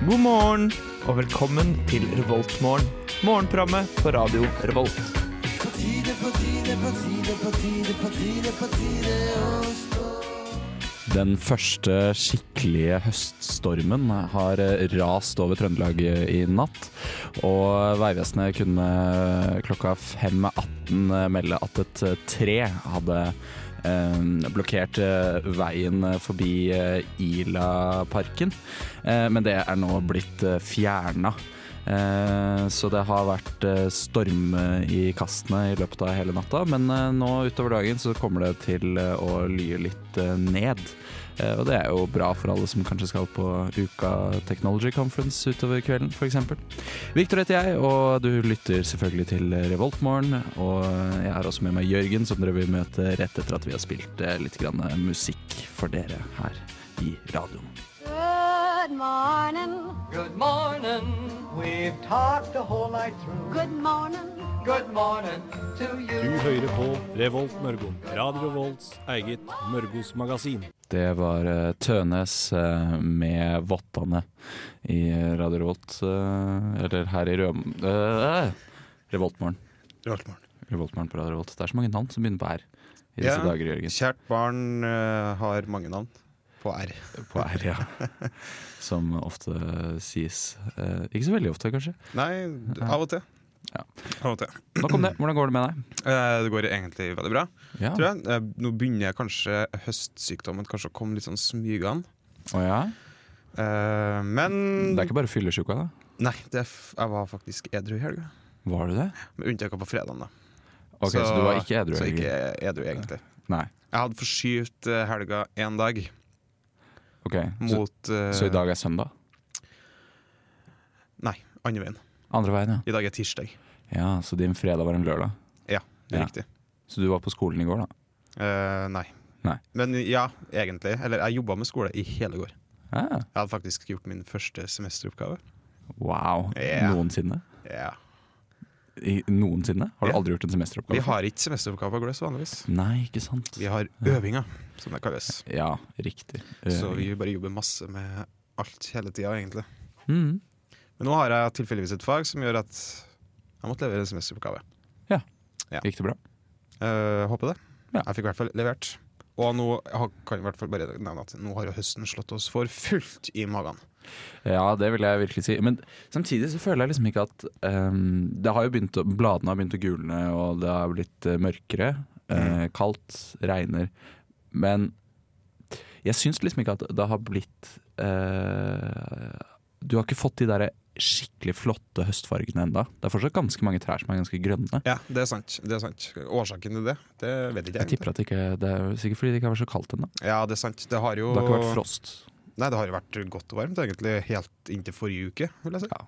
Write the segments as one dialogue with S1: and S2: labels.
S1: morgen, og velkommen til Revoltmorgen. Morgenprogrammet på radio Revolt.
S2: Den første skikkelige høststormen har eh, rast over Trøndelag i natt. Og Vegvesenet kunne klokka 5.18 melde at et eh, tre hadde eh, blokkert eh, veien forbi eh, Ilaparken. Eh, men det er nå blitt eh, fjerna. Eh, Så det har vært eh, storm eh, i kastene i løpet av hele natta, men eh, nå utover dagen så kommer det til eh, å lye litt eh, ned. Eh, Og det er jo bra for alle som kanskje skal på Uka Technology Conference utover kvelden f.eks. Victor heter jeg, og du lytter selvfølgelig til Revoltmorgen. Og jeg er også med meg Jørgen, som dere vil møte rett etter at vi har spilt eh, litt grann eh, musikk for dere her i radioen.
S3: Good morning.
S4: Good morning. We've talked the whole night through.
S3: Good morning.
S4: Good morning to
S5: Du
S4: you.
S5: hører på Revolt Mørgo. Radio Revolts eget Mørgos magasin.
S2: Det var eh, Tønes eh, med Vottane i Radio Revolt. eh, Eller her i Røm... eh, Revoltmorgen.
S6: Revoltmorgen.
S2: Revoltmorgen på Radio Revolt. Det er så mange navn som begynner på R i disse
S6: Ja.
S2: dager, Jørgen.
S6: Kjært barn eh, har mange navn. På R.
S2: På R, ja. Som ofte sies. Eh, Ikke så veldig ofte, kanskje.
S6: Nei, d- av og til.
S2: Ja.
S6: Av og til.
S2: Nok om det. Hvordan går det med deg?
S6: Eh, det går egentlig veldig bra,
S2: Ja.
S6: tror jeg. Eh, nå begynner kanskje høstsykdommen kanskje å komme litt sånn smygende.
S2: Å ja?
S6: Eh, men
S2: Det er ikke bare fyllesyka, da?
S6: Nei, det, er f- jeg var faktisk edru i helga.
S2: Var du det?
S6: Med unntak av på fredagen, da.
S2: Ok, Så, du var ikke edru?
S6: Så
S2: Jørgen?
S6: ikke edru, egentlig.
S2: Nei.
S6: Jeg hadde forskyvd eh, helga én dag
S2: Ok, så,
S6: mot eh,
S2: så i dag er søndag?
S6: Nei, andre veien.
S2: Andre veien, ja.
S6: I dag er tirsdag.
S2: ja. Så din fredag var en lørdag?
S6: Ja, det er
S2: Ja.
S6: riktig.
S2: Så du var på skolen i går, da?
S6: Eh, nei.
S2: Nei.
S6: Men ja, egentlig. Eller jeg jobba med skole i hele går.
S2: Ja.
S6: Jeg hadde faktisk gjort min første semesteroppgave.
S2: Wow.
S6: Ja.
S2: Noensinne?
S6: Ja.
S2: I, noensinne? Har du
S6: Ja.
S2: aldri gjort en semesteroppgave?
S6: Vi har ikke semesteroppgaver på Gløss vanligvis.
S2: Nei, ikke sant.
S6: Vi har øvinger, som det kalles.
S2: Ja, riktig.
S6: Så
S2: Eh,
S6: vi bare jobber masse med alt hele tida, egentlig.
S2: mm.
S6: Men nå har jeg tilfeldigvis et fag som gjør at jeg måtte levere en semesteroppgave.
S2: Gikk det bra?
S6: Eh, håper det.
S2: Ja.
S6: Jeg fikk i hvert fall levert. Og nå har- kan jeg i hvert fall bare nevne at nå har jo høsten slått oss for fullt i magen.
S2: Ja, det vil jeg virkelig si. Men samtidig så føler jeg liksom ikke at ehm, det har jo begynt å, Bladene har begynt å gulne, og det har blitt eh, mørkere. eh, kaldt, regner. Men jeg syns liksom ikke at det har blitt eh, Du har ikke fått de derre skikkelig flotte høstfargene enda. Det er fortsatt ganske mange trær som er ganske grønne.
S6: Ja, det er sant. det er sant Årsaken til det, det vet ikke
S2: Jeg
S6: jeg.
S2: tipper at det ikke Det er jo sikkert fordi det ikke har vært så kaldt ennå.
S6: Ja, det er sant. Det har jo
S2: Det har ikke vært frost.
S6: Nei, det har jo vært godt og varmt egentlig helt inntil forrige uke, vil jeg si.
S2: Ja,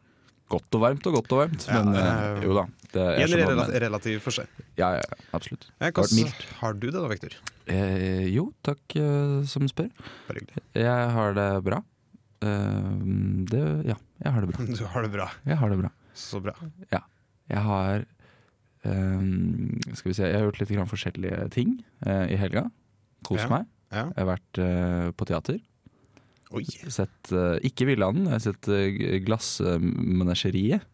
S2: Godt og varmt og godt og varmt,
S6: Ja,
S2: men
S6: eh,
S2: eh, jo da. Det er
S6: I en
S2: sånn,
S6: rela
S2: men-
S6: relativ forskjell.
S2: ja, ja, ja, absolutt.
S6: Eh,
S2: vært
S6: hvordan
S2: mildt.
S6: har du det da, Vektor?
S2: Eh, jo, takk eh, som spør.
S6: Bare hyggelig.
S2: Jeg har det bra. Eh, det, ja, jeg har det bra.
S6: Du har det bra.
S2: Jeg har det bra.
S6: Så bra.
S2: Jeg har eh, Skal vi se, jeg har gjort litt grann forskjellige ting eh, i helga. Kost
S6: Ja,
S2: meg.
S6: ja.
S2: Jeg har vært eh, på teater.
S6: Oi.
S2: Sett eh, ikke Villanden, jeg har sett eh, Glassmenageriet,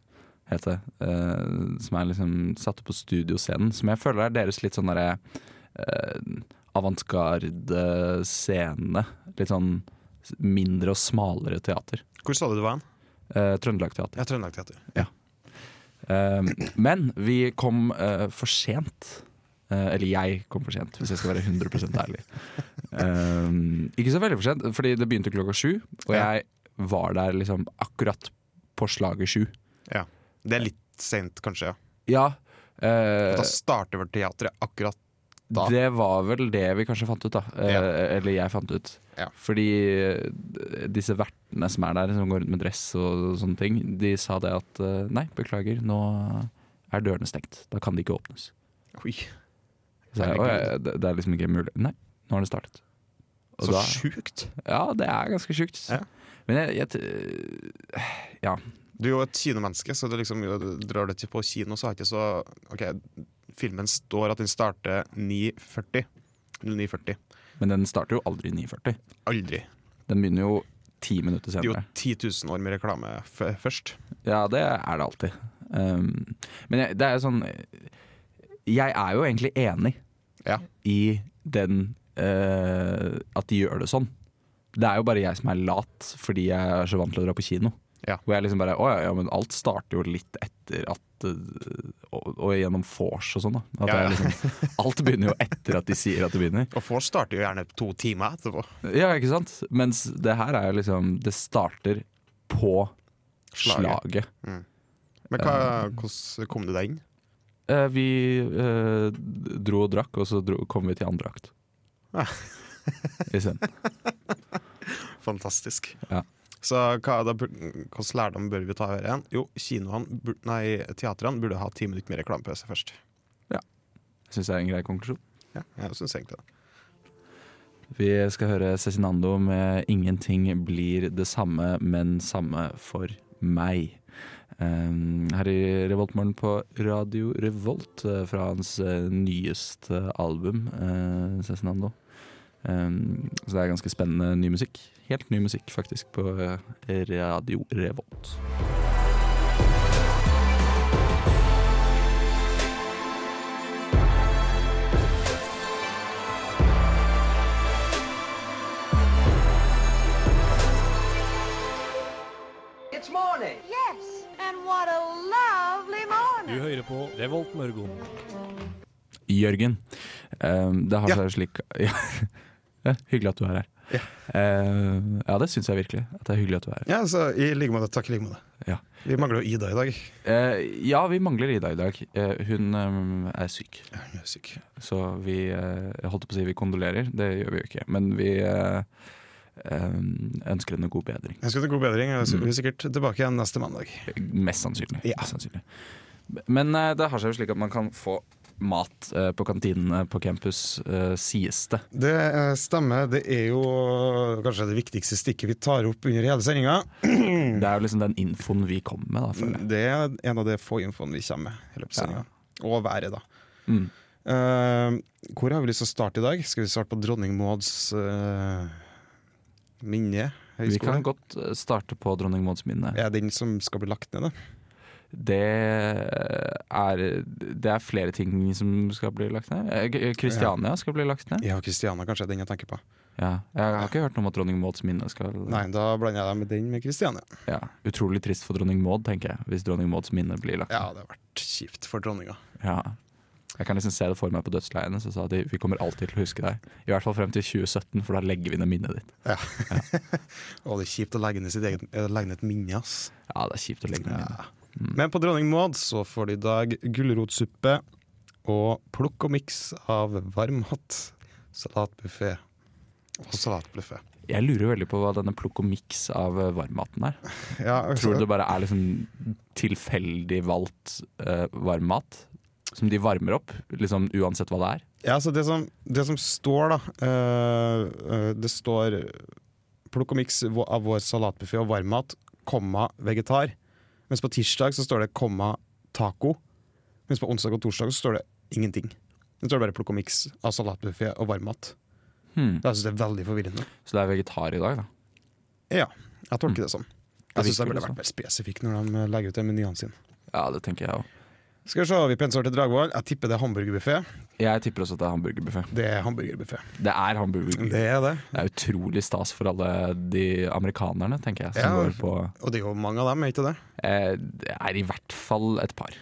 S2: heter det. eh, som er liksom satt opp på studioscenen. Som jeg føler er deres litt sånn derre uh, avantgarde scene. Litt sånn mindre og smalere teater.
S6: Hvor sa du du var hen?
S2: Uh, Trøndelag Teater.
S6: Ja, Trøndelag Teater.
S2: Eh, men vi kom eh, for sent. Eh, eller jeg kom for sent, hvis jeg skal være 100 ærlig. Eh, ikke så veldig for sent, fordi det begynte klokka sju, og
S6: Ja.
S2: jeg var der liksom akkurat på slaget sju.
S6: Ja. Det er litt seint, kanskje. ja.
S2: Ja, eh,
S6: Da starter vel teatret akkurat da.
S2: det var vel det vi kanskje fant ut, da. Eh,
S6: Ja.
S2: Eller jeg fant ut.
S6: Ja.
S2: Fordi eh, disse vertene som er der, som går rundt med dress og sånne ting, de sa det at eh, nei, beklager, nå er dørene stengt. Da kan de ikke åpnes.
S6: Oi.
S2: Så jeg, «Åja, det, det er liksom ikke mulig. Nei, nå har det startet. Og
S6: Så
S2: da-
S6: sjukt.
S2: Ja, det er ganske sjukt.
S6: Ja.
S2: Men jeg, jeg t-
S6: Du er jo et kinomenneske, så du liksom du drar du til på kino, så har ikke så OK, filmen står at den starter 9.40. 09.40.
S2: Men den starter jo aldri i 9.40.
S6: Aldri.
S2: Den begynner jo ti minutter
S6: Det er jo
S2: senere.
S6: 10 000 år med reklame f først.
S2: Ja, det er det alltid. Um, men jeg, det er jo sånn Jeg er jo egentlig enig
S6: Ja.
S2: i den eh, At de gjør det sånn. Det er jo bare jeg som er lat fordi jeg er så vant til å dra på kino.
S6: Ja.
S2: Hvor jeg liksom bare Å ja, ja, men alt starter jo litt etter at eh, og, og gjennom vors og sånn, da. At
S6: Ja, ja.
S2: det er liksom, alt begynner jo etter at de sier at det begynner.
S6: Og Force starter jo gjerne to timer etterpå.
S2: Ja, ikke sant? Mens det her er jo liksom Det starter på slaget.
S6: Slaget. Men hva, hvordan kom du deg inn?
S2: Eh, vi eh, dro og drakk, og så dro, kom vi til andre akt.
S6: Ja.
S2: Ah. Isteden.
S6: Fantastisk.
S2: Ja.
S6: Så hva, da, bur- hvordan lærdom bør vi ta her igjen? Jo, kinoene, bur- nei, teatrene burde ha ti minutter med reklamepause først.
S2: Syns jeg er en grei konklusjon.
S6: Ja, jeg synes egentlig det.
S2: Vi skal høre Cezinando med 'Ingenting blir det samme, men samme for meg'. Um, her i Revoltmorgen på Radio Revolt eh, fra hans eh, nyeste album, eh, Cezinando. Um, så det er ganske spennende ny musikk. Helt ny musikk, faktisk, på eh, Radio Revolt.
S4: It's morning.
S3: Yes, and what a lovely
S5: Du
S3: morning.
S5: hører på Revolt Mørgom.
S2: Jørgen, um, det har
S6: Ja.
S2: seg slik ja. Ja, Hyggelig at du er her.
S6: Ja.
S2: Um, ja, det syns jeg virkelig. At det er hyggelig at du er her.
S6: Ja, så i like måte. Takk i like måte.
S2: Ja.
S6: Vi mangler jo Ida i dag.
S2: Eh, ja, vi mangler Ida i dag. Eh, hun eh, er syk,
S6: Hun er syk.
S2: så vi eh, Jeg holdt på å si vi kondolerer, det gjør vi jo ikke. Men vi eh, eh, ønsker henne god bedring.
S6: Jeg ønsker deg god bedring. Jeg er sikkert tilbake igjen neste mandag.
S2: Mest sannsynlig.
S6: Ja.
S2: Mest sannsynlig. Men eh, det har seg jo slik at man kan få mat eh, på kantinene på campus, eh, sies det.
S6: Det eh, stemmer. Det er jo kanskje det viktigste stikket vi tar opp under hele sendinga. Mm.
S2: Det er jo liksom den infoen vi kommer med, da, føler jeg.
S6: Det er en av de få infoene vi kommer med. i løpet av sendingen. Og været, da.
S2: Mm.
S6: Eh, hvor har vi lyst til å starte i dag? Skal vi starte på dronning Mauds eh, minne?
S2: Vi
S6: Høyskole?
S2: kan godt eh, starte på dronning Mauds minne.
S6: Er det den som skal bli lagt ned, da?
S2: Det er, det er flere ting som skal bli lagt ned. Eh, Kristiania skal bli lagt ned.
S6: Ja, Kristiana kanskje er den jeg tenker på.
S2: Ja. Jeg har ikke hørt noe om at dronning Mauds minne skal
S6: Nei, da blander jeg deg med den med Kristiania.
S2: ja. Utrolig trist for dronning Maud, tenker jeg, hvis dronning Mauds minne blir lagt ned.
S6: Ja, det har vært kjipt for dronninga.
S2: Ja. Jeg kan liksom se det for meg på dødsleiet hennes. Så sa de vi kommer alltid til å huske deg. I hvert fall frem til 2017, for da legger vi ned minnet ditt.
S6: Og det er kjipt å legge ned sitt eget eh, legge ned et minne, ass.
S2: Ja, det er kjipt å legge ned minnet.
S6: Ja. Mm. Men på Dronning Maud så får de i dag gulrotsuppe og plukk og miks av varm hatt, salatbuffé og salatbuffé.
S2: Jeg lurer veldig på hva denne plukk og miks av eh, varmmaten er.
S6: Ja,
S2: Tror du
S6: altså,
S2: det bare er liksom tilfeldig valgt eh, varmmat? Som de varmer opp, liksom uansett hva det er?
S6: ja, altså det, som, det som står, da eh, eh, Det står plukk og miks vå- av vår salatbuffé og varmmat, komma vegetar. Mens på tirsdag så står det komma taco. Mens på onsdag og torsdag så står det ingenting. Det står bare plukk og miks av salatbuffé og varmmat.
S2: Hmm.
S6: Jeg synes det er veldig forvirrende.
S2: Så det er vegetar i dag, da.
S6: Ja, jeg tolker det sånn. Jeg syns de
S2: virker
S6: burde
S2: det
S6: vært mer spesifikke når de eh, legger ut den menyen sin.
S2: Ja, det tenker jeg òg.
S6: Skal vi se, vi pensår til Dragvoll. Jeg tipper det er hamburgerbuffé.
S2: Jeg tipper også at det er hamburgerbuffé.
S6: Det er hamburgerbuffé.
S2: Det er hamburgerbuffé.
S6: Det er det.
S2: Det er utrolig stas for alle de amerikanerne, tenker jeg, som
S6: Ja.
S2: går på
S6: Og det er jo mange av dem, er ikke det?
S2: eh, Det er i hvert fall et par.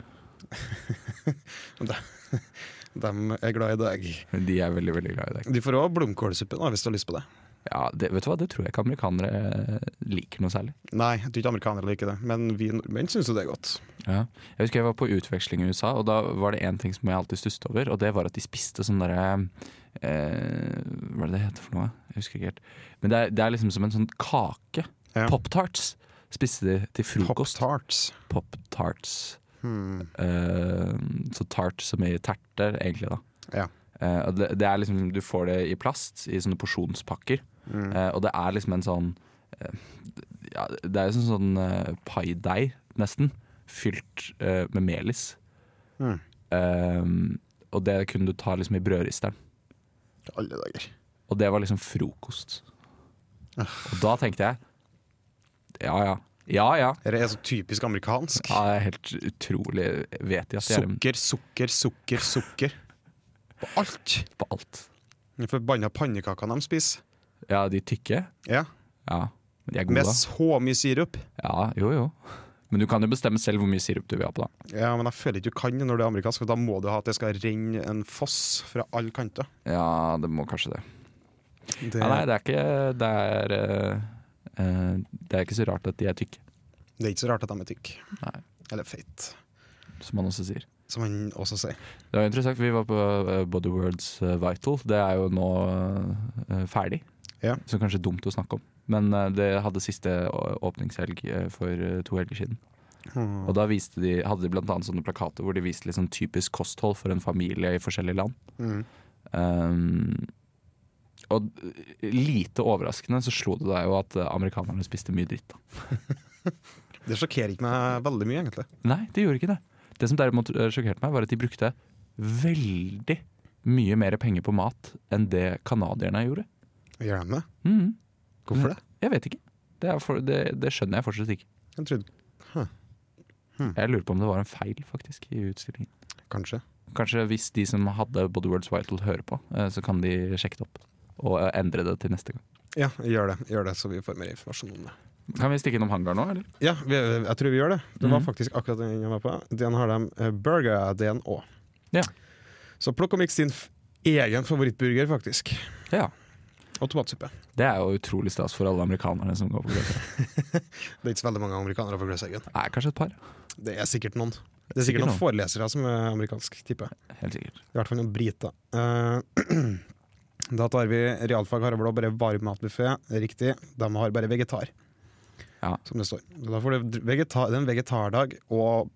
S6: De er glad i dag.
S2: De er veldig veldig glad i det.
S6: De får òg blomkålsuppe nå, hvis du har lyst på det.
S2: Ja, det, vet du hva? det tror jeg ikke amerikanere eh, liker noe særlig.
S6: Nei, jeg tror ikke amerikanere liker det, men vi nordmenn syns jo det er godt.
S2: Ja. Jeg husker jeg var på utveksling i USA, og da var det én ting som jeg alltid stusset over, og det var at de spiste sånn derre eh, Hva er det det heter for noe? Jeg husker ikke helt. Men det er, det er liksom som en sånn kake.
S6: Ja.
S2: Pop-tarts spiste de til frokost.
S6: Pop-tarts.
S2: Pop-tarts.
S6: Hmm.
S2: Eh, så tart som i terter, egentlig, da.
S6: Ja.
S2: Eh, og det, det er liksom, du får det i plast, i sånne porsjonspakker.
S6: Mm.
S2: Eh, og det er liksom en sånn eh, ja, Det er jo sånn, sånn eh, paideig, nesten, fylt eh, med melis.
S6: Mm.
S2: Eh, og det kunne du ta liksom i brødristeren.
S6: Alle dager.
S2: Og det var liksom frokost. Og da tenkte jeg Ja ja. Ja ja.
S6: Det er så typisk amerikansk.
S2: ja det er helt utrolig Vet de at de er en-
S6: Sukker, sukker, sukker, sukker. På alt.
S2: på alt?
S6: Forbanna pannekakene de spiser.
S2: Ja, de tykke?
S6: Ja.
S2: Ja. Men de er gode,
S6: Med
S2: da.
S6: så mye sirup.
S2: Ja, jo jo. Men du kan jo bestemme selv hvor mye sirup du vil ha på, da.
S6: Ja, men jeg føler ikke du kan det når du er amerikansk, for da må du ha at det skal renne en foss fra alle kanter.
S2: Ja, det må kanskje det.
S6: Det,
S2: Ja, nei, det er ikke Det er eh, eh, Det er ikke så rart at de er tykke,
S6: det er ikke så rart at de er tykke.
S2: Nei.
S6: Eller feit,
S2: som man også sier.
S6: som han også sier.
S2: Det var interessant, vi var på eh, Body Words eh, Vital. Det er jo nå eh, ferdig,
S6: Ja.
S2: så kanskje dumt å snakke om. Men eh, det hadde siste å- åpningshelg eh, for eh, to helger siden. Og da viste de, hadde de blant annet sånne plakater hvor de viste liksom typisk kosthold for en familie i forskjellige land.
S6: Mm.
S2: Um, og lite overraskende så slo det deg jo at eh, amerikanerne spiste mye dritt. da.
S6: Det sjokkerer ikke meg veldig mye, egentlig.
S2: Nei, de gjorde ikke det. Det som derimot eh, sjokkerte meg, var at de brukte veldig mye mer penger på mat enn det canadierne gjorde.
S6: Gjør de det?
S2: Mhm.
S6: Hvorfor det?
S2: Jeg vet ikke. Det, er for, det, det skjønner jeg fortsatt ikke.
S6: Jeg trodde
S2: Jeg lurer på om det var en feil faktisk i utstillingen.
S6: kanskje.
S2: Kanskje hvis de som hadde Body Words Vital hører på, eh, så kan de sjekke det opp. Og eh, endre det til neste gang.
S6: Ja, gjør det, gjør det, så vi får mer informasjon om det.
S2: Kan vi stikke innom hangaren nå, eller?
S6: Ja, vi, jeg tror vi gjør det. Det var
S2: Mhm.
S6: faktisk akkurat den jeg var på. Den har de eh, burger-DN òg.
S2: Ja.
S6: Så plukk og miks din f egen favorittburger, faktisk.
S2: Ja.
S6: Og tomatsuppe.
S2: Det er jo utrolig stas for alle amerikanerne som går på Grønland.
S6: Det er ikke så veldig mange amerikanere på Gløshaugen.
S2: Nei, kanskje et par.
S6: Det er sikkert noen. Det er sikkert noen forelesere som er amerikansk, tipper jeg.
S2: Helt sikkert.
S6: I hvert fall noen briter. Eh, da tar vi realfag Harald og bare varmmatbuffé. Riktig, de har bare vegetar,
S2: Ja.
S6: som det står. Da får du vegetar, det er en vegetardag og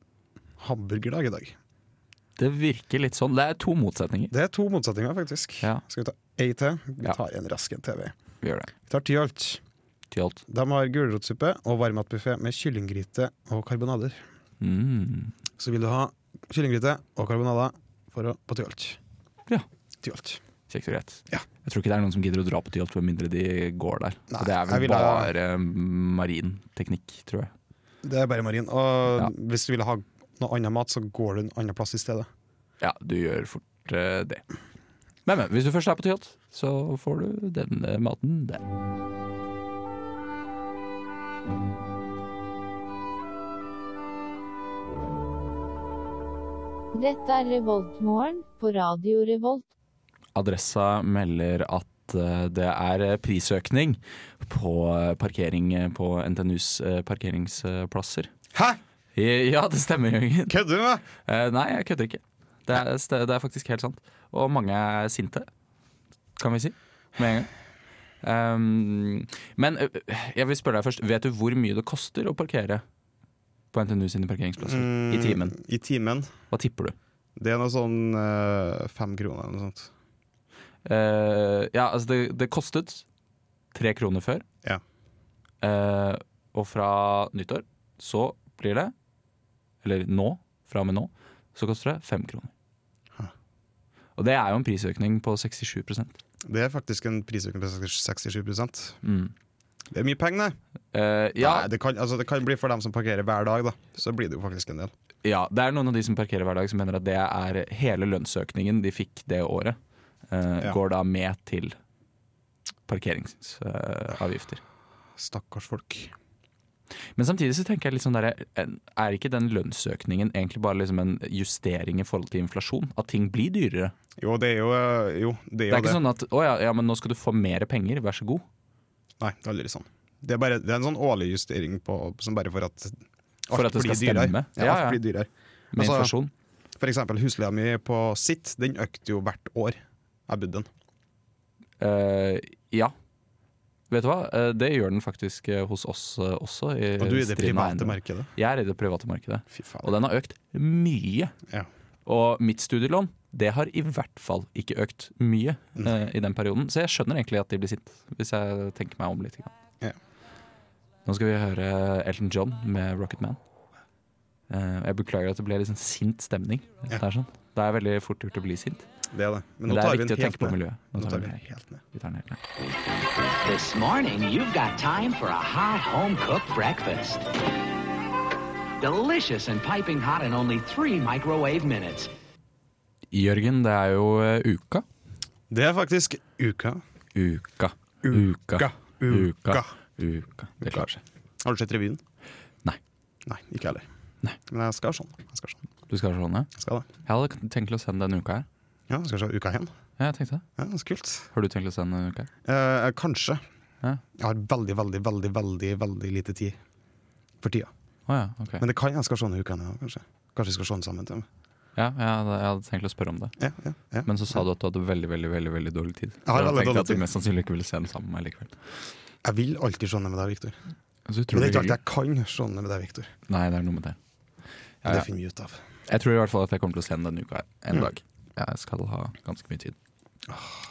S6: hamburgerdag i dag.
S2: Det virker litt sånn. Det er to motsetninger.
S6: Det er to motsetninger, faktisk.
S2: Ja.
S6: Skal vi ta ei til? Vi
S2: Ja.
S6: tar en rask en TV.
S2: Vi gjør det.
S6: Vi tar Tyholt.
S2: Til alt.
S6: De har gulrotsuppe og varmmatbuffé med kyllinggryte og karbonader.
S2: Mm.
S6: Så vil du ha kyllinggryte og karbonader for å, på Tyholt.
S2: Ja.
S6: Tyholt.
S2: Kjekt og greit.
S6: Ja.
S2: Jeg tror ikke det er noen som gidder å dra på Tyholt, med mindre de går der.
S6: Nei,
S2: Så det er
S6: jeg
S2: vel
S6: ville-
S2: bare mm, marin teknikk, tror jeg.
S6: Det er bare marin. Og
S2: Ja.
S6: hvis du vil ha noe annen mat, så går du en annen plass i stedet.
S2: Ja, du gjør fort eh, det. Men, men, hvis du først er på Tyholt, så får du den eh, maten der.
S7: Dette er Revoltmorgen på Radio Revolt.
S2: Adressa melder at eh, det er eh, prisøkning på eh, parkering eh, på NTNUs eh, parkeringsplasser.
S6: Hæ?!
S2: Ja, det stemmer, Jørgen.
S6: Kødder du med meg?!
S2: Eh, Nei, jeg kødder ikke. Det er, st- det er faktisk helt sant. Og mange er sinte, kan vi si. Med en gang. Ehm, men ø, ø, jeg vil spørre deg først, vet du hvor mye det koster å parkere på NTNU sine parkeringsplasser i
S6: Mm.
S2: timen?
S6: I timen.
S2: Hva tipper du?
S6: Det er noe sånn eh, fem kroner eller noe sånt.
S2: Eh, ja, altså det, det kostet tre kroner før.
S6: Ja.
S2: Eh, og fra nyttår så blir det, eller nå, fra og med nå, så koster det fem kroner.
S6: Hæ.
S2: Og det er jo en prisøkning på 67
S6: Det er faktisk en prisøkning på 67
S2: mm.
S6: Det er mye penger, det.
S2: Eh, ja,
S6: Nei, det, kan, altså, det kan bli for dem som parkerer hver dag, da. Så blir det jo faktisk en del.
S2: ja, det er noen av de som parkerer hver dag som mener at det er hele lønnsøkningen de fikk det året, eh,
S6: Ja.
S2: går da med til parkeringsavgifter.
S6: Stakkars folk.
S2: Men samtidig så tenker jeg litt sånn der, er ikke den lønnsøkningen egentlig bare liksom en justering i forhold til inflasjon? At ting blir dyrere?
S6: Jo, det er jo eh, Jo,
S2: Det
S6: det er jo
S2: er
S6: det.
S2: ikke sånn at å ja, ja, men nå skal du få mer penger, vær så god.
S6: Nei, det er aldri sånn. Det er, bare, det er en sånn årlig justering på, som bare for at
S2: For at det skal stemme.
S6: Ja,
S2: Ja,
S6: alt
S2: ja.
S6: blir dyrere.
S2: Med
S6: Altså-
S2: inflasjon.
S6: For eksempel husleia mi på sitt, den økte jo hvert år jeg bodde den.
S2: Eh, ja. Vet du hva, Eh, det gjør den faktisk eh, hos oss eh, også. I
S6: Og du er i det
S2: Strina
S6: private
S2: eiendom.
S6: markedet.
S2: Jeg er i det private markedet.
S6: Fy
S2: Og
S6: faen.
S2: den har økt mye.
S6: Ja.
S2: Og mitt studielån det har i hvert fall ikke økt mye eh, i den perioden. Så jeg skjønner egentlig at de blir sinte, hvis jeg tenker meg om litt. grann.
S6: Ja.
S2: Nå skal vi høre Elton John med 'Rocket Man'. Eh, jeg beklager at det ble litt sånn sint stemning.
S6: Ja.
S2: Det er sånn. Det er veldig fort gjort å bli sint.
S6: Det er det.
S2: Men
S6: Men
S2: det
S6: nå
S2: er
S6: tar vi
S2: viktig
S6: den
S2: å tenke
S6: helt
S2: på
S6: ned.
S2: miljøet.
S6: Nå tar vi
S2: den
S6: den
S2: helt.
S6: helt ned.
S2: Vi tar den helt ned.
S8: This morning, you've got time for a hot home cooked breakfast. Delicious and piping hot in only three microwave minutes.
S2: Jørgen, det er jo eh, uka.
S6: Det er faktisk uka.
S2: Uka. Uka.
S6: Uka.
S2: Uka. Det klarer seg.
S6: Har du sett revyen?
S2: Nei.
S6: Nei, ikke heller.
S2: Nei.
S6: Men jeg skal sånn. Jeg skal sånn.
S2: Du skal se sånn, ja?
S6: Jeg skal det.
S2: Jeg hadde tenkt til å sende den uka her.
S6: Ja, jeg skal se uka igjen.
S2: Ja, jeg tenkte det.
S6: Ja, det er så kult.
S2: Har du tenkt å sende den uka her?
S6: Eh, kanskje.
S2: Ja.
S6: Jeg har veldig, veldig, veldig, veldig veldig lite tid for tida.
S2: Å ja, ok.
S6: Men det kan jeg skal se denne uka igjen, ja, kanskje. Kanskje vi skal se den sammen. Til.
S2: Ja, jeg hadde, jeg hadde tenkt å spørre om det.
S6: Ja, ja, ja.
S2: Men så sa du at du hadde veldig veldig, veldig, veldig dårlig tid.
S6: har
S2: Så
S6: veldig
S2: tenkte
S6: dårlig
S2: at du
S6: tid.
S2: mest sannsynlig ikke ville se den sammen med meg likevel.
S6: Jeg vil alltid se den med deg, Viktor.
S2: Så
S6: Men
S2: tror
S6: det
S2: du
S6: er klart jeg kan se den med deg, Viktor.
S2: Nei, det er noe med det. Ja,
S6: Det Mm.
S2: ja.
S6: finner vi ut av.
S2: Jeg tror i hvert fall at jeg kommer til å se den denne uka her, en dag. Jeg skal ha ganske mye tid.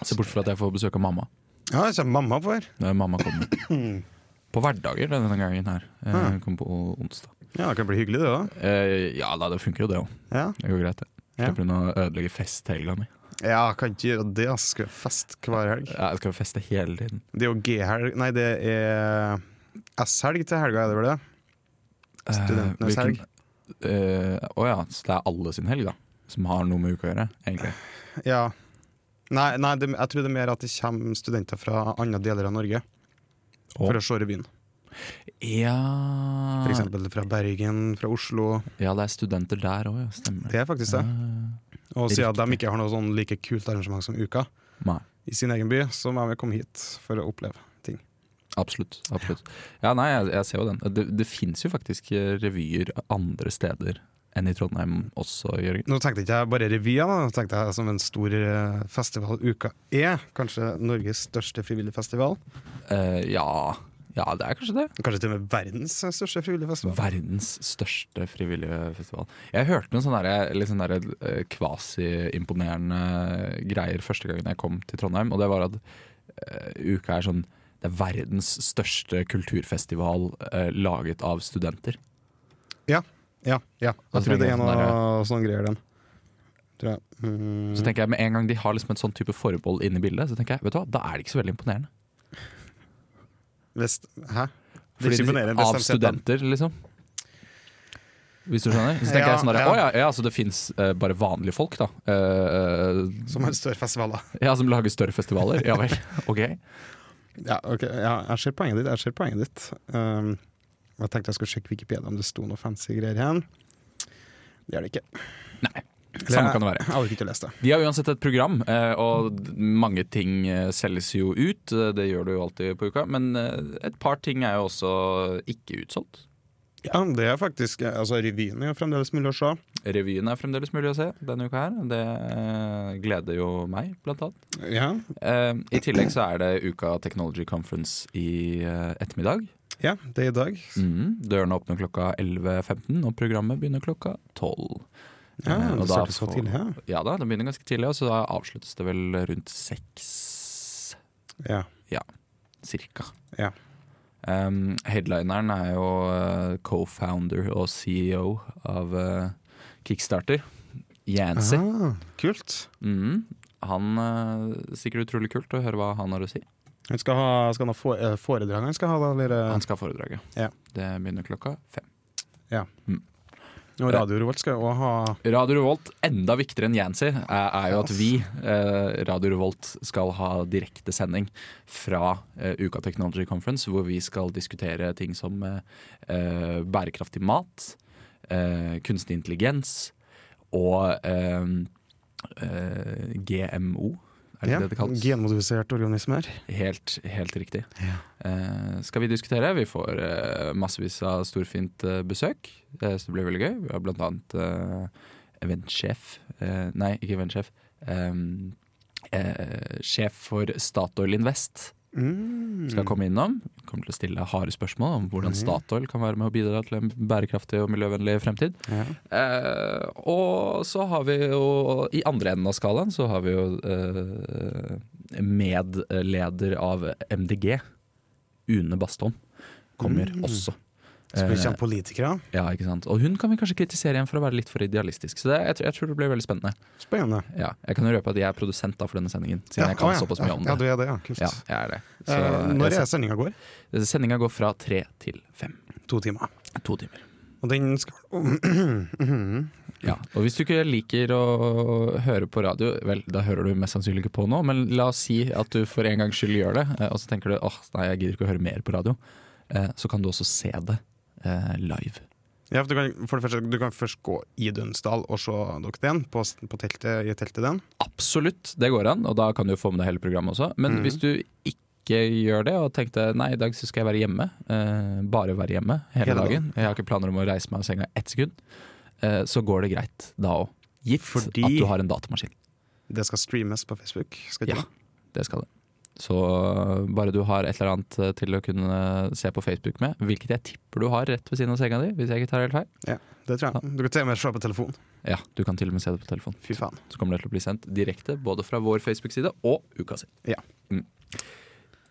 S2: Se bort fra at jeg får besøk av mamma.
S6: Ja, jeg kommer mamma på her.
S2: Når mamma kommer. På hverdager denne gangen her. Eh,
S6: Ja.
S2: Kommer på onsdag.
S6: Ja, det kan bli hyggelig, det òg.
S2: Eh, Ja da, det funker jo det òg.
S6: Ja.
S2: Det går greit, det.
S6: Ja.
S2: Slipper hun å ødelegge festhelga mi.
S6: ja, kan ikke gjøre det. Altså. Skal fest hver helg.
S2: Ja, Jeg skal feste hele tiden.
S6: Det er jo G-helg Nei, det er S-helg til helga, er det vel det?
S2: Eh,
S6: Studentenes
S2: hvilken- Eh, Å ja, så det er alle sin helg, da. Som har noe med uka å gjøre, egentlig.
S6: Ja. Nei, nei det, jeg tror det er mer at det kommer studenter fra andre deler av Norge for å Ah. se revyen.
S2: Ja
S6: For eksempel fra Bergen, fra Oslo.
S2: Ja, det er studenter der òg, ja. Stemmer.
S6: Det er faktisk det.
S2: Ah.
S6: Og siden de ikke har noe sånn like kult arrangement som Uka
S2: Nei.
S6: i sin egen by, så må vi komme hit for å oppleve ting.
S2: Absolutt. absolutt. Ja, nei, jeg, jeg ser jo den. Det, det fins jo faktisk eh, revyer andre steder enn i Trondheim også, Jørgen.
S6: Nå tenkte ikke jeg bare revyer, da. Nå tenkte jeg som en stor eh, festival Uka er. Kanskje Norges største frivillige festival.
S2: Eh, ja. ja, det er kanskje det.
S6: Kanskje til og med verdens største frivillige festival.
S2: Verdens største frivillige festival. Jeg hørte noen sånne der, litt sånne der, eh, kvasi-imponerende greier første gangen jeg kom til Trondheim, og det var at eh, uka er sånn Det er verdens største kulturfestival eh, laget av studenter.
S6: Ja, ja, ja.
S2: Og så
S6: Jeg tror det
S2: tenker jeg
S6: er
S2: sånn
S6: noe sånn greier, den. Tror jeg. Mm.
S2: Så tenker jeg med en gang de har liksom et sånn type forbehold inne i bildet, så tenker jeg, vet du hva, da er det ikke så veldig imponerende.
S6: Hvis, hæ? Det er
S2: Fordi
S6: ikke imponerende,
S2: de,
S6: bestemt
S2: av
S6: sett, da.
S2: studenter, liksom. Hvis du skjønner? Så tenker
S6: Ja,
S2: jeg sånn der,
S6: ja.
S2: å ja, ja, så det fins eh, bare vanlige folk, da. Eh,
S6: Som en større festival, da.
S2: Ja, som lager større festivaler. Ja vel. Ok.
S6: Ja, ok, ja, jeg ser poenget ditt. Jeg ser poenget ditt. Um, jeg tenkte jeg skulle sjekke Wikipedia om det sto noe fancy greier igjen. Det er det ikke.
S2: Nei. Samme kan det være.
S6: Jeg orker ikke å lese det.
S2: De har uansett et program, eh, og d- mange ting eh, selges jo ut. eh, Det gjør det jo alltid på uka. Men eh, et par ting er jo også ikke utsolgt.
S6: Ja, det er faktisk, altså Revyen er jo fremdeles mulig å se.
S2: Revyen er fremdeles mulig å se denne uka her. Det eh, gleder jo meg, blant annet.
S6: Ja,
S2: Eh, I tillegg så er det Uka Technology Conference i eh, ettermiddag.
S6: ja det er i dag.
S2: Mm, dørene åpner klokka 11.15, og programmet begynner klokka 12.
S6: Ja,
S2: Eh, og
S6: det
S2: da
S6: starter så
S2: får-
S6: tidlig. Ja.
S2: Ja da, det begynner ganske tidlig, og så da avsluttes det vel rundt seks,
S6: Ja.
S2: cirka.
S6: Ja.
S2: Um, headlineren er jo eh, co-founder og CEO av eh, Kickstarter, Yancy.
S6: Ah, kult.
S2: Mm, han eh, Sikkert utrolig kult å høre hva han har å si.
S6: Han skal ha, skal han ha fore- eh, foredrag? Han skal ha da, eller, eh,
S2: Han skal ha foredraget.
S6: Ja.
S2: Det begynner klokka fem.
S6: og Radio Revolt skal jo også ha
S2: Radio Revolt, enda viktigere enn Yancy, er, er jo at vi, eh, Radio Revolt, skal ha direkte sending fra eh, Uka Technology Conference, hvor vi skal diskutere ting som eh, eh, bærekraftig mat, eh, kunstig intelligens og eh, eh, GMO. Er det
S6: ja,
S2: det det kalles?
S6: genmodifiserte organismer.
S2: Helt, helt riktig. Eh, skal vi diskutere? Vi får eh, massevis av storfint eh, besøk, eh, så det blir veldig gøy. Vi har blant annet eh, eventsjef eh, Nei, ikke eventsjef. ehm, eh, sjef for Statoil Invest
S6: Mm.
S2: skal komme innom. Kommer til å stille harde spørsmål om hvordan Statoil kan være med å bidra til en bærekraftig og miljøvennlig fremtid.
S6: Ja.
S2: Eh, og så har vi jo I andre enden av skalaen så har vi jo eh,
S6: Mm.
S2: medleder av MDG, Une Bastholm, kommer også. Eh,
S6: Spør ikke om politikere.
S2: Ja, ikke sant? Og hun kan vi kanskje kritisere igjen for å være litt for idealistisk. Så det, jeg, tror- jeg tror det blir veldig spennende.
S6: Spennende.
S2: Ja, jeg kan jo røpe at jeg er produsent da for denne sendingen, siden jeg kan
S6: å ja.
S2: såpass mye om
S6: Ja, du
S2: det.
S6: er det, ja. Kult.
S2: Ja, jeg er det. Så,
S6: Eh, når er sendinga går?
S2: Sendinga går fra tre til fem.
S6: To timer.
S2: To timer.
S6: Og den skal
S2: Ja, og hvis du ikke liker å høre på radio, vel, da hører du mest sannsynlig ikke på nå, men la oss si at du for en gangs skyld gjør det, eh, og så tenker du åh, nei, jeg gidder ikke å høre mer på radio. Eh, Så kan du også se det eh, live.
S6: Ja, for du kan, for det første, du kan først gå i Dønsdal og se dere den, på, på teltet, i teltet den.
S2: Absolutt, Mhm. det går an, og da kan du jo få med deg hele programmet også. Men hvis du ikke gjør det, og tenkte nei, i dag så skal jeg være hjemme, eh, bare være hjemme hele,
S6: Hele
S2: dagen, jeg har ikke planer om å reise meg av senga ett sekund, eh, så går det greit da òg. Gitt
S6: Fordi-
S2: at du har en datamaskin.
S6: Det skal streames på Facebook. Skal ikke
S2: Ja,
S6: det?
S2: det skal det. Så eh, bare du har et eller annet eh, til å kunne se på Facebook med, hvilket jeg tipper du har rett ved siden av senga di, hvis jeg ikke tar helt feil.
S6: det tror jeg. Du kan til og med se på telefon.
S2: Ja, du kan til og med se det på telefon.
S6: Fy faen.
S2: Så kommer det til å bli sendt direkte både fra vår Facebook-side og uka si.
S6: Ja.
S2: Mm.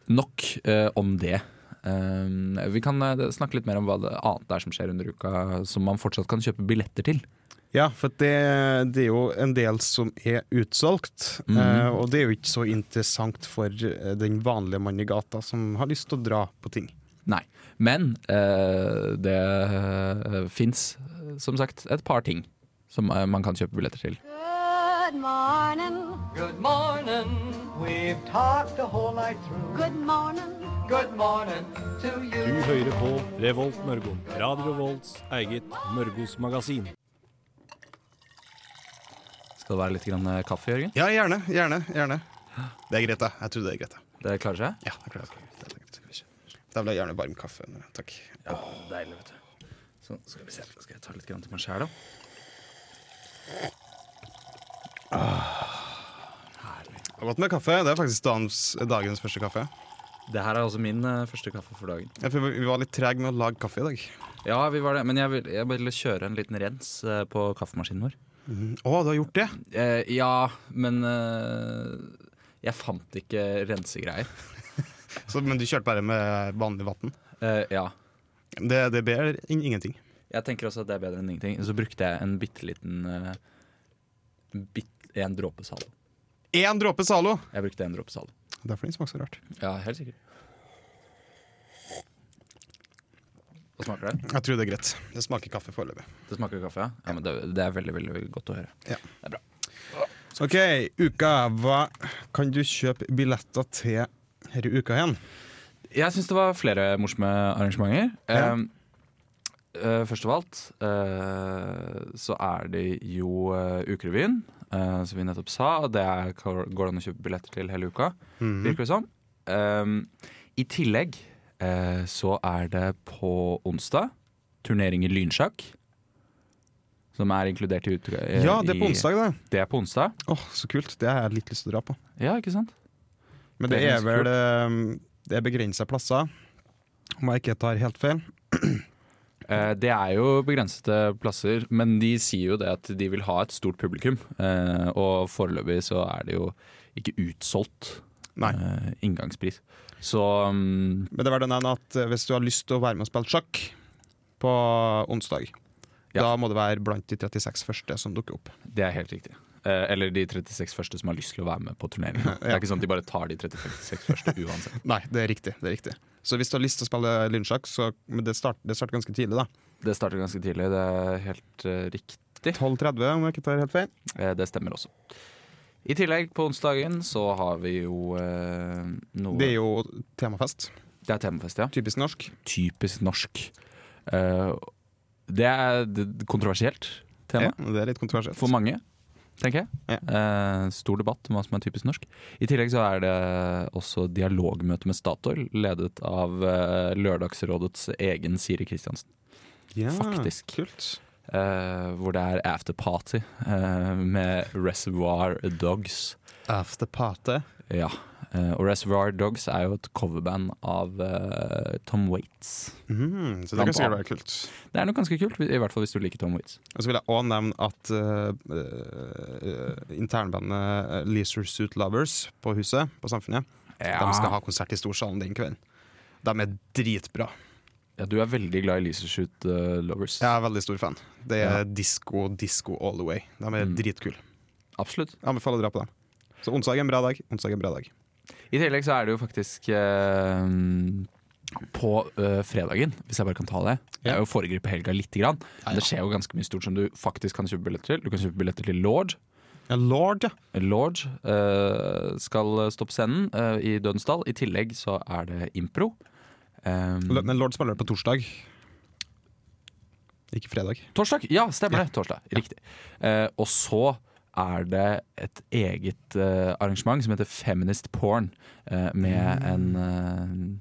S2: Nok eh, om det. Um, vi kan eh, snakke litt mer om hva det annet det er som skjer under uka, som man fortsatt kan kjøpe billetter til.
S6: Ja, for det, det er jo en del som er utsolgt.
S2: Mhm.
S6: eh, og det er jo ikke så interessant for eh, den vanlige mann i gata som har lyst til å dra på ting.
S2: Nei. Men eh, det uh, fins, som sagt, et par ting som eh, man kan kjøpe billetter til.
S3: Good morning.
S4: Good morning. We've talked the whole night through.
S3: Good morning.
S4: Good morning to you.
S5: Du hører på Revolt Mørgo. Radio Revolts eget Mørgos magasin.
S2: Skal det være litt grann eh, kaffe, Jørgen?
S6: Ja, gjerne. Gjerne. gjerne. Det er greit, da. Jeg tror det er greit. da.
S2: Det klarer seg?
S6: Ja, det er greit. Det er greit. Da vil jeg gjerne varm kaffe. Takk.
S2: Ja, deilig, vet du. Så Sånn, skal vi se. Skal jeg ta litt grann til meg sjæl, da?
S6: Det er Godt med kaffe. Det er faktisk dagens, dagens første kaffe.
S2: Det her er også min eh, første kaffe for dagen.
S6: Ja, for Vi var litt trege med å lage kaffe i dag.
S2: Ja, vi var det, men jeg ville, jeg ville kjøre en liten rens eh, på kaffemaskinen vår.
S6: Å, du har gjort det?
S2: Eh, ja, men eh, jeg fant ikke rensegreier.
S6: Så, men du kjørte bare med vanlig vann?
S2: Eh, ja.
S6: Det, det ber in ingenting.
S2: Jeg tenker også at det er bedre enn ingenting. Så brukte jeg en bitte liten eh, bitt- En dråpe Zalo.
S6: Én dråpe Zalo!
S2: Jeg brukte en dråpe Zalo.
S6: Derfor den smaker så rart.
S2: Ja, helt sikkert. Hva smaker det?
S6: Jeg tror det er greit. Det smaker kaffe foreløpig.
S2: Det smaker kaffe, ja? ja men det, det er veldig, veldig godt å høre.
S6: OK, uka. Hva kan du kjøpe billetter til denne uka igjen?
S2: Jeg syns det var flere morsomme arrangementer.
S6: Ja.
S2: Ehm, eh, først av alt eh, så er det jo eh, Ukerevyen, eh, som vi nettopp sa. Det er, går det an å kjøpe billetter til hele uka,
S6: Mhm.
S2: virker det som. Ehm, I tillegg eh, så er det på onsdag turnering i lynsjakk. Som er inkludert i ut- eh,
S6: Ja, det er på
S2: i-
S6: onsdag, det.
S2: Det er på onsdag.
S6: Åh, Så kult. Det har jeg litt lyst til å dra på.
S2: Ja, ikke sant?
S6: Men
S2: Det
S6: det
S2: er
S6: er
S2: ganske
S6: vel
S2: kult.
S6: eh, Det er begrensa plasser, om jeg ikke tar helt feil.
S2: Eh, Det er jo begrensede plasser, men de sier jo det at de vil ha et stort publikum. eh, Og foreløpig så er det jo ikke utsolgt
S6: Nei.
S2: eh, inngangspris. Så mm,
S6: Men det var den ene at eh, hvis du har lyst til å være med og spille sjakk på onsdag,
S2: Ja.
S6: da må det være blant de 36 første som dukker opp.
S2: det er helt riktig. Eh, Eller de 36 første som har lyst til å være med på turneringen. Det er ikke sånn at de bare tar de 36 første uansett.
S6: Nei, det er riktig. det er riktig. Så hvis du har lyst til å spille lynsjakk, så men det starter det starter ganske tidlig, da.
S2: Det starter ganske tidlig, det er helt eh, riktig.
S6: 12.30, om jeg ikke tar helt feil.
S2: Eh, Det stemmer også. I tillegg, på onsdagen så har vi jo eh, noe
S6: Det er jo temafest.
S2: Det er temafest, ja.
S6: Typisk norsk.
S2: typisk norsk. Eh, det er d- kontroversielt tema
S6: Ja, det er litt kontroversielt.
S2: for mange, tenker jeg.
S6: Ja.
S2: Eh, stor debatt om hva som er typisk norsk. I tillegg så er det også dialogmøte med Statoil, ledet av eh, Lørdagsrådets egen Siri Kristiansen.
S6: ja,
S2: faktisk.
S6: Kult.
S2: Eh, hvor det er afterparty eh, med Reservoir Dogs.
S6: After party.
S2: Ja. eh, og Reservoir Dogs er jo et coverband av eh, Tom Waits.
S6: Mm, så det
S2: Blant
S6: kan sikkert
S2: annet.
S6: være kult.
S2: Det er noe ganske kult, i hvert fall hvis du liker Tom Waits.
S6: Og så vil jeg òg nevne at eh, eh, internbandet Leaser Suit Lovers på Huset, på Samfunnet,
S2: Ja.
S6: de skal ha konsert i Storsalen den kvelden. De er dritbra.
S2: Ja, du er veldig glad i Leisure Shoot eh, Lovers.
S6: Jeg er veldig stor fan. Det er
S2: Ja.
S6: disko, disko all the way. De er dritkule.
S2: Absolutt.
S6: Jeg anbefaler å dra på dem. Så onsdag er en bra dag. Onsdag er en bra dag.
S2: I tillegg så er det jo faktisk eh, på eh, fredagen, hvis jeg bare kan ta det. Det
S6: Ja.
S2: er jo å foregripe helga lite grann. Men det skjer jo ganske mye stort som du faktisk kan kjøpe billetter til. Du kan kjøpe billetter til Lord.
S6: Ja, Lord, ja.
S2: Lord eh, skal stå på scenen eh, i Dønsdal. I tillegg så er det impro. Um,
S6: L- Men Lord spiller på torsdag. Ikke fredag.
S2: Torsdag, ja, stemmer det. Torsdag, riktig. Eh, og så er det et eget eh, arrangement som heter Feminist Porn, eh, med
S6: Mm.
S2: en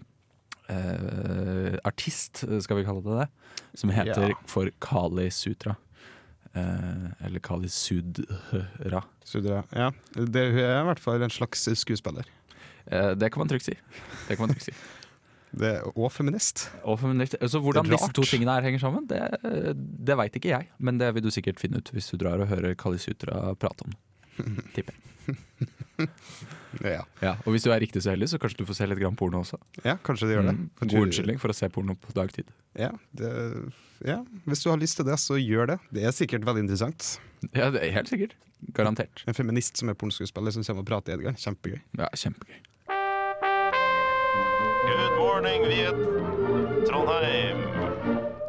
S2: eh, eh, artist, skal vi kalle det det, som heter
S6: Ja.
S2: for Kali Sutra. Eh, eller Kali Sudra.
S6: Sudra. Ja. Det hun er i hvert fall en slags skuespiller.
S2: Eh, det kan man trygt si. Det kan man trygt si.
S6: Det, og feminist.
S2: Og feminist. Så hvordan
S6: Det er
S2: disse to
S6: rart.
S2: tingene her henger sammen, det, eh, det veit ikke jeg. Men det vil du sikkert finne ut hvis du drar og hører Kali Sutra prate om det.
S6: Ja,
S2: Ja, og hvis du er riktig så heldig, så kanskje du får se litt grann porno også.
S6: ja kanskje de gjør det.
S2: Mm.
S6: Kanskje-
S2: God unnskyldning for å se porno på dagtid.
S6: Ja, det, ja, hvis du har lyst til det, så gjør det. Det er sikkert veldig interessant.
S2: Ja, det er helt sikkert. Garantert.
S6: En feminist som er pornoskuespiller som kommer og prater i Edgar. Kjempegøy.
S2: Ja, kjempegøy.
S9: Good morning, Viet. Trondheim.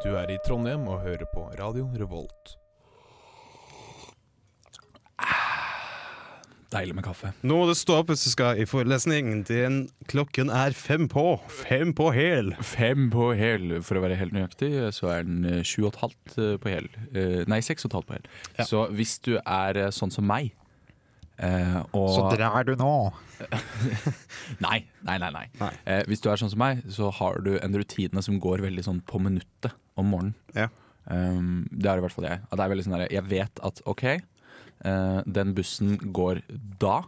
S10: Du er i Trondheim og hører på Radio Revolt.
S2: Ah, Deilig med kaffe.
S6: Nå må du stå opp hvis du skal i forelesning. Din klokken er fem på. Fem på hæl.
S2: Fem på hæl, for å være helt nøyaktig, så er den eh, sju og et halvt eh, på hæl. Eh, Nei, seks og et halvt på hæl. Så hvis du er eh, sånn som meg eh, og
S6: drar du nå.
S2: Nei, nei, nei. nei.
S6: Nei.
S2: Eh, hvis du er sånn som meg, så har du en rutine som går veldig sånn på minuttet om morgenen.
S6: Ja.
S2: Um, det er i hvert fall jeg. At det er veldig sånn der, jeg vet at OK, eh, den bussen går da.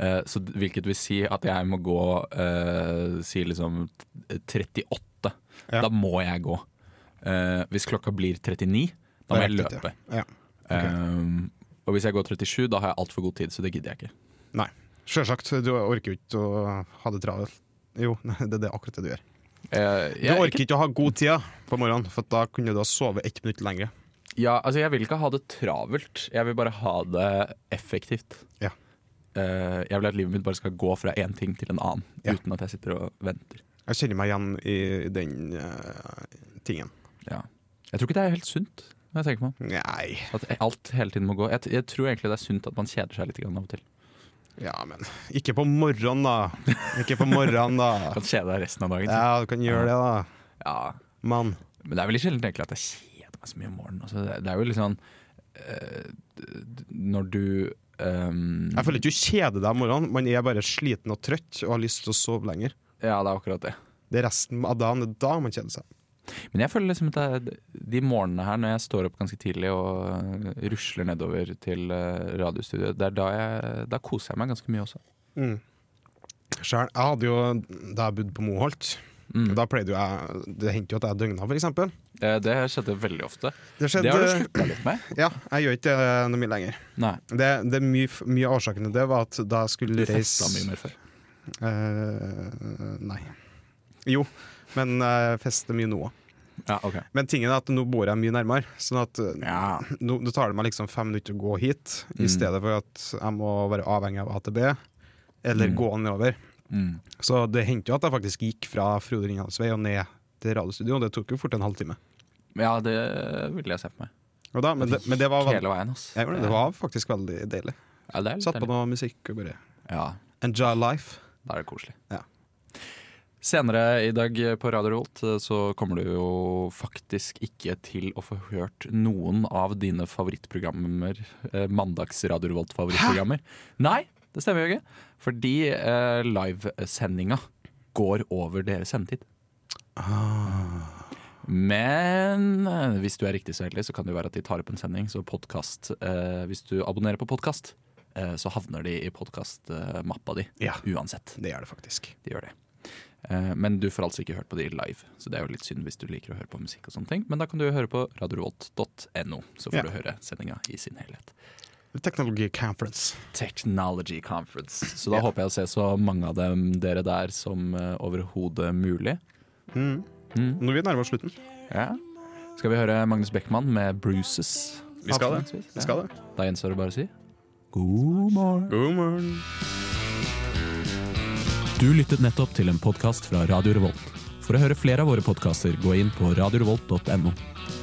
S2: Eh, så, d- hvilket vil si at jeg må gå eh, si liksom t- 38.
S6: Ja.
S2: Da må jeg gå. Eh, hvis klokka blir 39, da må
S6: Da
S2: jeg
S6: rekker du
S2: løpe.
S6: det. Ja.
S2: Um, og hvis jeg går 37, da har jeg altfor god tid, så det gidder jeg ikke.
S6: Nei. Sjølsagt. Du orker jo ikke å ha det travelt. Jo, nei, det det er akkurat det du gjør.
S2: Eh,
S6: Du
S2: jeg er ikke-
S6: orker ikke å ha god tid ja, på morgenen, for da kunne du ha sovet ett minutt lenger.
S2: Ja, altså jeg vil ikke ha det travelt. Jeg vil bare ha det effektivt.
S6: Ja.
S2: Eh, jeg vil at livet mitt bare skal gå fra én ting til en annen,
S6: Ja.
S2: uten at jeg sitter og venter.
S6: Jeg kjenner meg igjen i den eh, tingen.
S2: Ja. Jeg tror ikke det er helt sunt, når jeg tenker meg om.
S6: Nei
S2: At alt hele tiden må gå. Jeg, t- jeg tror egentlig det er sunt at man kjeder seg litt grann av og til.
S6: Ja, men ikke på morgenen, da. Ikke på morgenen, da.
S2: Kan kjede deg resten av dagen. så-
S6: Ah. Ja, du kan gjøre det, da.
S2: Ja.
S6: Mann.
S2: Men det er veldig sjelden egentlig at jeg kjeder meg så mye om morgenen. Altså, det, det er jo litt sånn eh, d- d- Når du ehm,
S6: Jeg føler ikke du kjeder deg om morgenen. Man er bare sliten og trøtt og har lyst til å sove lenger.
S2: Ja, det er akkurat det.
S6: Det er resten av dagen det er da man kjeder seg.
S2: Men jeg føler liksom at det, er- de morgenene her når jeg står opp ganske tidlig og øh, rusler nedover til øh, radiostudioet, det er da, jeg, da koser jeg meg ganske mye også.
S6: Mm. Selv, jeg hadde jo, Da jeg bodde på Moholt,
S2: Mm.
S6: da pleide jo jeg Det hendte jo at jeg døgna, for eksempel.
S2: Eh, Det skjedde veldig ofte.
S6: Det skjedde
S2: Det har du slutta litt med.
S6: Ja, jeg gjør ikke det noe mye lenger.
S2: Nei.
S6: Det, det er mye, mye av årsaken til det var at da jeg
S2: Du
S6: skulle
S2: festa
S6: reise
S2: mye mer før.
S6: Eh, Nei. Jo, men uh, fester mye nå òg.
S2: Ja, ok.
S6: Men tingen er at nå bor jeg mye nærmere, sånn at eh, nå, nå tar det meg liksom fem minutter å gå hit, i stedet for at jeg må være avhengig av AtB eller gå nedover.
S2: Mm.
S6: Så det hendte jo at jeg faktisk gikk fra Frode Ringdals vei og ned til radiostudio, og det tok jo fort en halvtime.
S2: ja, det ville jeg se for meg.
S6: Og da, men, det, men det var veldig
S2: Hele veien, ass.
S6: jeg gjorde det, det var faktisk veldig deilig.
S2: Ja, det er litt
S6: Satt på
S2: deilig.
S6: noe musikk og bare
S2: Ja,
S6: enjoy life.
S2: Da er det koselig.
S6: Ja.
S2: Senere i dag på Radio Revolt eh, så kommer du jo faktisk ikke til å få hørt noen av dine favorittprogrammer. eh, Mandags Radio Revolt-favorittprogrammer. Nei, det stemmer jo ikke. Fordi eh, livesendinga går over deres sendetid. Men eh, hvis du er riktig så heldig, så kan det jo være at de tar opp en sending. Så podcast, eh, hvis du abonnerer på podkast, eh, så havner de i podkastmappa di
S6: Ja.
S2: uansett.
S6: Det gjør det faktisk.
S2: De gjør det. Eh, Men du får altså ikke hørt på de live, så det er jo litt synd hvis du liker å høre på musikk. og sånne ting Men da kan du høre på radiorevolt.no, så får
S6: Ja.
S2: du høre sendinga i sin helhet.
S6: Technology conference.
S2: Technology Conference. Så da
S6: Ja.
S2: håper jeg å se så mange av dem dere der som eh, overhodet mulig. Mm.
S6: Når vi nærmer oss slutten.
S2: Ja. Skal vi høre Magnus Beckmann med 'Bruises'?
S6: Vi skal det.
S2: Avslutningsvis,
S6: Vi
S2: ja.
S6: skal det.
S2: Da gjenstår det bare å si god morgen.
S6: God morgen.
S2: Du lyttet nettopp til en podkast fra Radio Revolt. For å høre flere av våre podkaster, gå inn på radiorevolt.no.